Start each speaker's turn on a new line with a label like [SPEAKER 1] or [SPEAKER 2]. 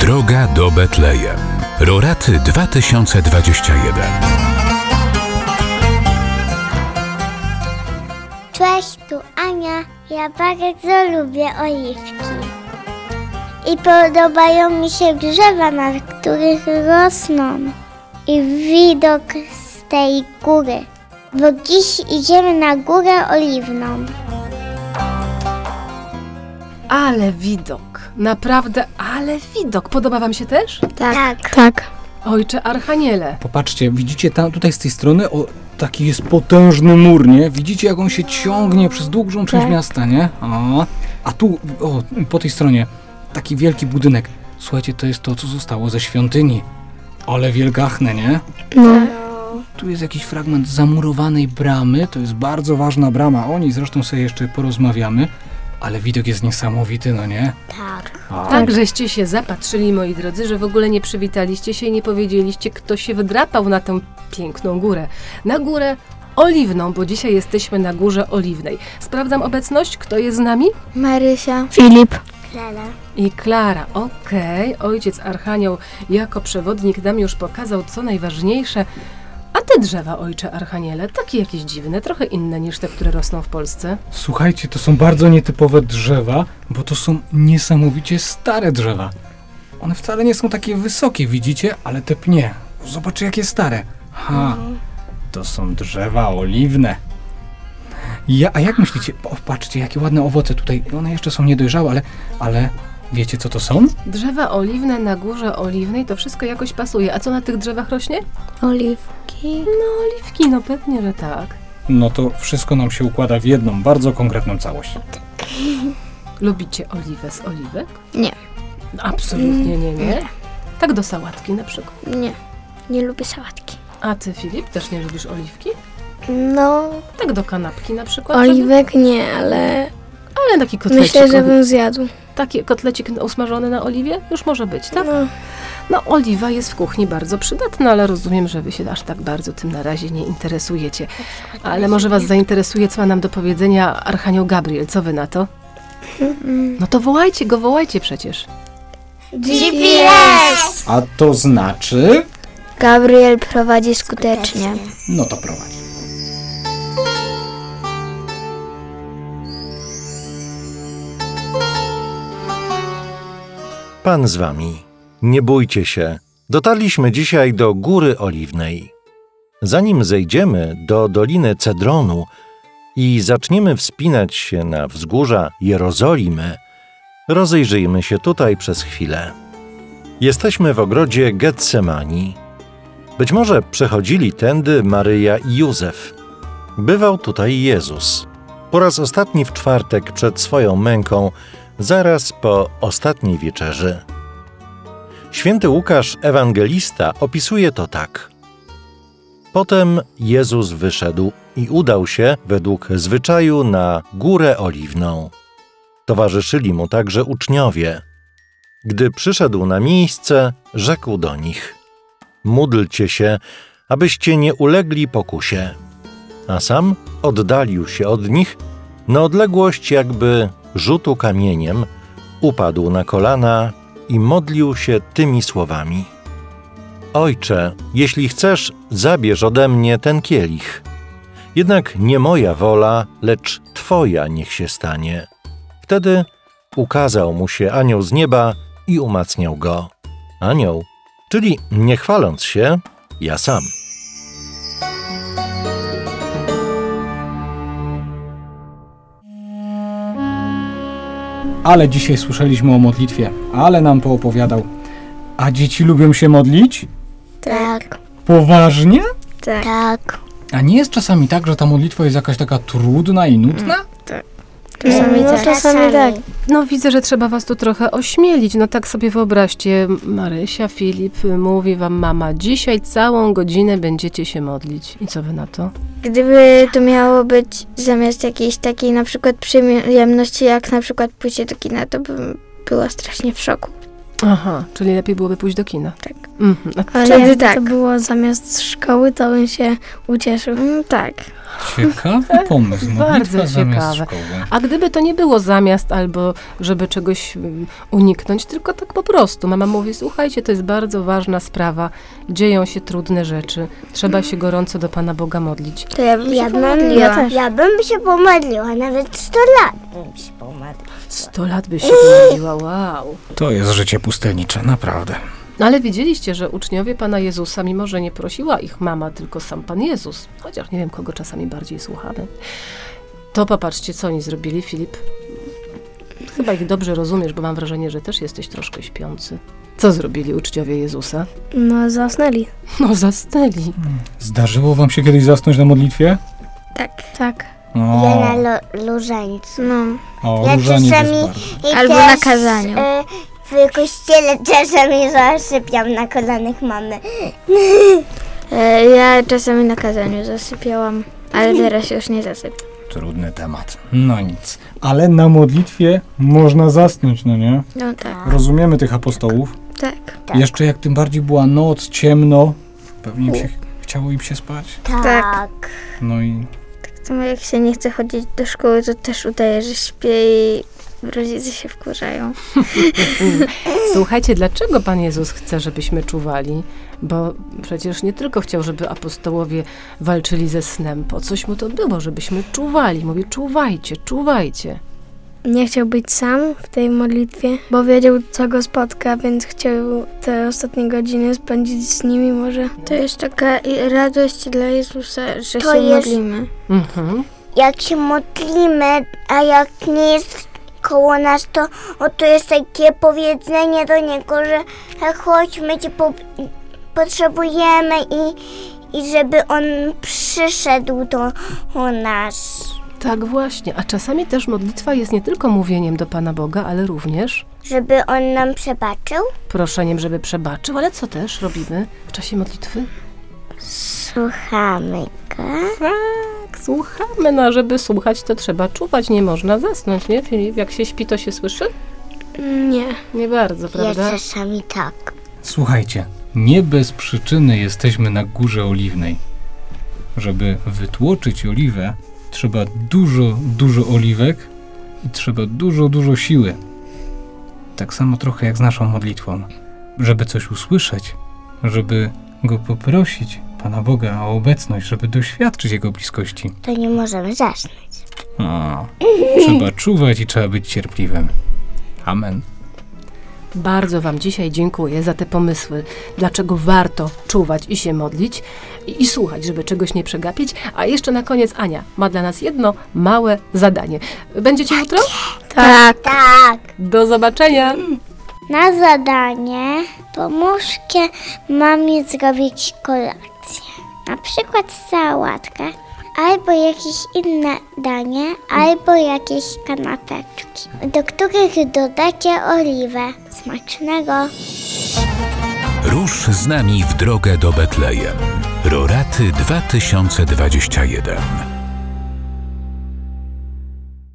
[SPEAKER 1] Droga do Betlejem. Roraty 2021.
[SPEAKER 2] Cześć, tu Ania. Ja bardzo lubię oliwki. I podobają mi się drzewa, na których rosną. I widok z tej góry. Bo dziś idziemy na górę oliwną.
[SPEAKER 3] Ale widok, naprawdę, ale widok. Podoba Wam się też?
[SPEAKER 2] Tak.
[SPEAKER 3] Ojcze Archaniele.
[SPEAKER 4] Popatrzcie, widzicie tam, tutaj z tej strony o, taki jest potężny mur, nie? Widzicie jak on się ciągnie przez długą część miasta, nie? O, a tu, o, po tej stronie, taki wielki budynek. Słuchajcie, to jest to, co zostało ze świątyni. Ale wielgachne, nie? No. Tu jest jakiś fragment zamurowanej bramy, to jest bardzo ważna brama, o niej zresztą sobie jeszcze porozmawiamy, ale widok jest niesamowity, no nie?
[SPEAKER 2] Tak.
[SPEAKER 3] Tak, żeście się zapatrzyli, moi drodzy, że w ogóle nie przywitaliście się i nie powiedzieliście, kto się wydrapał na tę piękną górę. Na górę oliwną, bo dzisiaj jesteśmy na górze oliwnej. Sprawdzam obecność, kto jest z nami?
[SPEAKER 5] Marysia.
[SPEAKER 2] Klara.
[SPEAKER 3] I Klara, okej, ojciec Archanioł jako przewodnik nam już pokazał co najważniejsze. A te drzewa, ojcze Archaniele, takie jakieś dziwne, trochę inne niż te, które rosną w Polsce.
[SPEAKER 4] Słuchajcie, to są bardzo nietypowe drzewa, bo to są niesamowicie stare drzewa. One wcale nie są takie wysokie, widzicie, ale te pnie. Zobaczcie, jakie stare. Ha, to są drzewa oliwne. Ja, a jak myślicie? O, patrzcie, jakie ładne owoce tutaj. One jeszcze są niedojrzałe, ale, ale wiecie, co to są?
[SPEAKER 3] Drzewa oliwne na górze oliwnej, to wszystko jakoś pasuje. A co na tych drzewach rośnie?
[SPEAKER 5] Oliwki.
[SPEAKER 3] Oliwki, no pewnie, że tak.
[SPEAKER 4] No to wszystko nam się układa w jedną, bardzo konkretną całość.
[SPEAKER 3] Lubicie oliwę z oliwek?
[SPEAKER 5] Nie. Mm,
[SPEAKER 3] Absolutnie nie, nie. Tak do sałatki na przykład.
[SPEAKER 5] Nie. Nie lubię sałatki.
[SPEAKER 3] A ty, Filip, też nie lubisz oliwki?
[SPEAKER 5] No,
[SPEAKER 3] Tak do kanapki na przykład? żeby-
[SPEAKER 5] oliwek nie, ale
[SPEAKER 3] Ale taki kotlecik.
[SPEAKER 5] myślę, że
[SPEAKER 3] od-
[SPEAKER 5] bym zjadł.
[SPEAKER 3] Taki kotlecik usmażony na oliwie? Już może być, tak?
[SPEAKER 5] No,
[SPEAKER 3] No, oliwa jest w kuchni bardzo przydatna, ale rozumiem, że wy się aż tak bardzo tym na razie nie interesujecie. Ale może was zainteresuje, co ma nam do powiedzenia Archanioł Gabriel. Co wy na to? No to wołajcie go, wołajcie przecież.
[SPEAKER 2] GPS!
[SPEAKER 4] A to znaczy?
[SPEAKER 5] Gabriel prowadzi skutecznie.
[SPEAKER 4] No to prowadź.
[SPEAKER 6] Pan z wami. Nie bójcie się. Dotarliśmy dzisiaj do Góry Oliwnej. Zanim zejdziemy do Doliny Cedronu i zaczniemy wspinać się na wzgórza Jerozolimy, rozejrzyjmy się tutaj przez chwilę. Jesteśmy w ogrodzie Getsemani. Być może przechodzili tędy Maryja i Józef. Bywał tutaj Jezus. Po raz ostatni w czwartek przed swoją męką zaraz po ostatniej wieczerzy. Święty Łukasz, ewangelista, opisuje to tak. Potem Jezus wyszedł i udał się, według zwyczaju, na Górę Oliwną. Towarzyszyli mu także uczniowie. Gdy przyszedł na miejsce, rzekł do nich: Módlcie się, abyście nie ulegli pokusie. A sam oddalił się od nich na odległość jakby rzutu kamieniem, upadł na kolana i modlił się tymi słowami: Ojcze, jeśli chcesz, zabierz ode mnie ten kielich. Jednak nie moja wola, lecz Twoja niech się stanie. Wtedy ukazał mu się anioł z nieba i umacniał go. Anioł, czyli nie chwaląc się, ja sam.
[SPEAKER 4] Ale dzisiaj słyszeliśmy o modlitwie, ale nam poopowiadał. A dzieci lubią się modlić?
[SPEAKER 2] Tak.
[SPEAKER 4] Poważnie?
[SPEAKER 2] Tak.
[SPEAKER 4] A nie jest czasami tak, że ta modlitwa jest jakaś taka trudna i nudna?
[SPEAKER 5] Czasami
[SPEAKER 2] No,
[SPEAKER 5] tak.
[SPEAKER 2] czasami tak.
[SPEAKER 3] No widzę, że trzeba was tu trochę ośmielić. No tak sobie wyobraźcie, Marysia, Filip, mówi wam mama, dzisiaj całą godzinę będziecie się modlić. I co wy na to?
[SPEAKER 5] Gdyby to miało być zamiast jakiejś takiej na przykład przyjemności, jak na przykład pójście do kina, to bym była strasznie w szoku.
[SPEAKER 3] Aha, czyli lepiej byłoby pójść do kina.
[SPEAKER 5] Tak.
[SPEAKER 3] Mhm. A
[SPEAKER 5] Ale
[SPEAKER 7] Wtedy
[SPEAKER 5] jakby
[SPEAKER 7] tak.
[SPEAKER 5] to było zamiast szkoły, to bym się ucieszył.
[SPEAKER 7] Mm, tak.
[SPEAKER 2] Mm.
[SPEAKER 4] Ciekawy pomysł.
[SPEAKER 3] Bardzo
[SPEAKER 4] Modlitwa zamiast
[SPEAKER 3] ciekawe.
[SPEAKER 4] szkoły.
[SPEAKER 3] A gdyby to nie było zamiast albo żeby czegoś mm, uniknąć, tylko tak po prostu. Mama mówi, słuchajcie, to jest bardzo ważna sprawa, dzieją się trudne rzeczy, trzeba się gorąco do Pana Boga modlić.
[SPEAKER 5] To ja bym
[SPEAKER 2] Ja
[SPEAKER 5] się
[SPEAKER 2] bym,
[SPEAKER 5] pomodliła.
[SPEAKER 2] ja, bym się pomodliła, nawet 100 lat bym się pomodliła.
[SPEAKER 3] Sto lat by się modliła, wow.
[SPEAKER 4] To jest życie pustelnicze, naprawdę.
[SPEAKER 3] No ale wiedzieliście, że uczniowie Pana Jezusa, mimo że nie prosiła ich mama, tylko sam Pan Jezus, chociaż nie wiem, kogo czasami bardziej słuchamy, to popatrzcie, co oni zrobili, Filip. Chyba ich dobrze rozumiesz, bo mam wrażenie, że też jesteś troszkę śpiący. Co zrobili uczniowie Jezusa?
[SPEAKER 5] No, zasnęli.
[SPEAKER 3] No zasnęli.
[SPEAKER 4] Zdarzyło wam się kiedyś zasnąć na modlitwie?
[SPEAKER 5] Tak. Tak.
[SPEAKER 2] Ja
[SPEAKER 4] O,
[SPEAKER 2] na lu- lużańcu.
[SPEAKER 5] No.
[SPEAKER 4] o
[SPEAKER 2] Ja
[SPEAKER 4] różaniec jest
[SPEAKER 2] czasami-
[SPEAKER 4] bardzo.
[SPEAKER 2] I
[SPEAKER 7] Albo
[SPEAKER 2] też,
[SPEAKER 7] na kazaniu.
[SPEAKER 2] e, w kościele czasami zasypiam na kolanach mamy.
[SPEAKER 5] E, ja czasami na kazaniu zasypiałam, ale teraz już nie zasypiam.
[SPEAKER 4] Trudny temat. No nic. Ale na modlitwie można zasnąć, no nie?
[SPEAKER 5] No tak.
[SPEAKER 4] Rozumiemy tych apostołów.
[SPEAKER 5] Tak.
[SPEAKER 2] Tak.
[SPEAKER 4] Jeszcze jak tym bardziej była noc, ciemno, pewnie im się chciało im się spać.
[SPEAKER 2] Tak.
[SPEAKER 4] No i
[SPEAKER 5] To jak się nie chce chodzić do szkoły, to też udaje, że śpię i rodzice się wkurzają.
[SPEAKER 3] Słuchajcie, dlaczego Pan Jezus chce, żebyśmy czuwali? Bo przecież nie tylko chciał, żeby apostołowie walczyli ze snem. Po coś mu to było, żebyśmy czuwali. Mówi, czuwajcie, czuwajcie.
[SPEAKER 7] Nie chciał być sam w tej modlitwie, bo wiedział, co go spotka, więc chciał te ostatnie godziny spędzić z nimi może.
[SPEAKER 5] To jest taka i- radość dla Jezusa, że
[SPEAKER 2] To
[SPEAKER 5] się
[SPEAKER 2] jest-
[SPEAKER 5] modlimy.
[SPEAKER 3] Mhm.
[SPEAKER 2] Jak się modlimy, a jak nie jest koło nas, to, o, to jest takie powiedzenie do niego, że e, chodź, my cię po, potrzebujemy i, i żeby on przyszedł do o nas.
[SPEAKER 3] Tak właśnie. A czasami też modlitwa jest nie tylko mówieniem do Pana Boga, ale również
[SPEAKER 2] Żeby on nam przebaczył?
[SPEAKER 3] proszeniem, żeby przebaczył. Ale co też robimy w czasie modlitwy?
[SPEAKER 2] Słuchamy go.
[SPEAKER 3] Tak, słuchamy. No, a żeby słuchać, to trzeba czuwać. Nie można zasnąć, nie, Filip? Jak się śpi, to się słyszy?
[SPEAKER 7] Nie.
[SPEAKER 3] Nie bardzo,
[SPEAKER 2] Ja
[SPEAKER 3] prawda?
[SPEAKER 2] czasami tak.
[SPEAKER 4] Słuchajcie, nie bez przyczyny jesteśmy na górze oliwnej. Żeby wytłoczyć oliwę, trzeba dużo, dużo oliwek i trzeba dużo, dużo siły. Tak samo trochę jak z naszą modlitwą. Żeby coś usłyszeć, żeby go poprosić, Pana Boga, o obecność, żeby doświadczyć Jego bliskości.
[SPEAKER 2] To nie możemy zasnąć.
[SPEAKER 4] A, trzeba czuwać i trzeba być cierpliwym. Amen.
[SPEAKER 3] Bardzo Wam dzisiaj dziękuję za te pomysły, dlaczego warto czuwać i się modlić i, i słuchać, żeby czegoś nie przegapić. A jeszcze na koniec Ania ma dla nas jedno małe zadanie. Będziecie jutro?
[SPEAKER 5] Tak.
[SPEAKER 2] Tak.
[SPEAKER 3] Do zobaczenia!
[SPEAKER 2] Na zadanie pomóżcie mamie zrobić kolację. Na przykład sałatkę, albo jakieś inne danie, albo jakieś kanapeczki, do których dodacie oliwę. Smacznego!
[SPEAKER 1] Rusz z nami w drogę do Betlejem. Roraty 2021.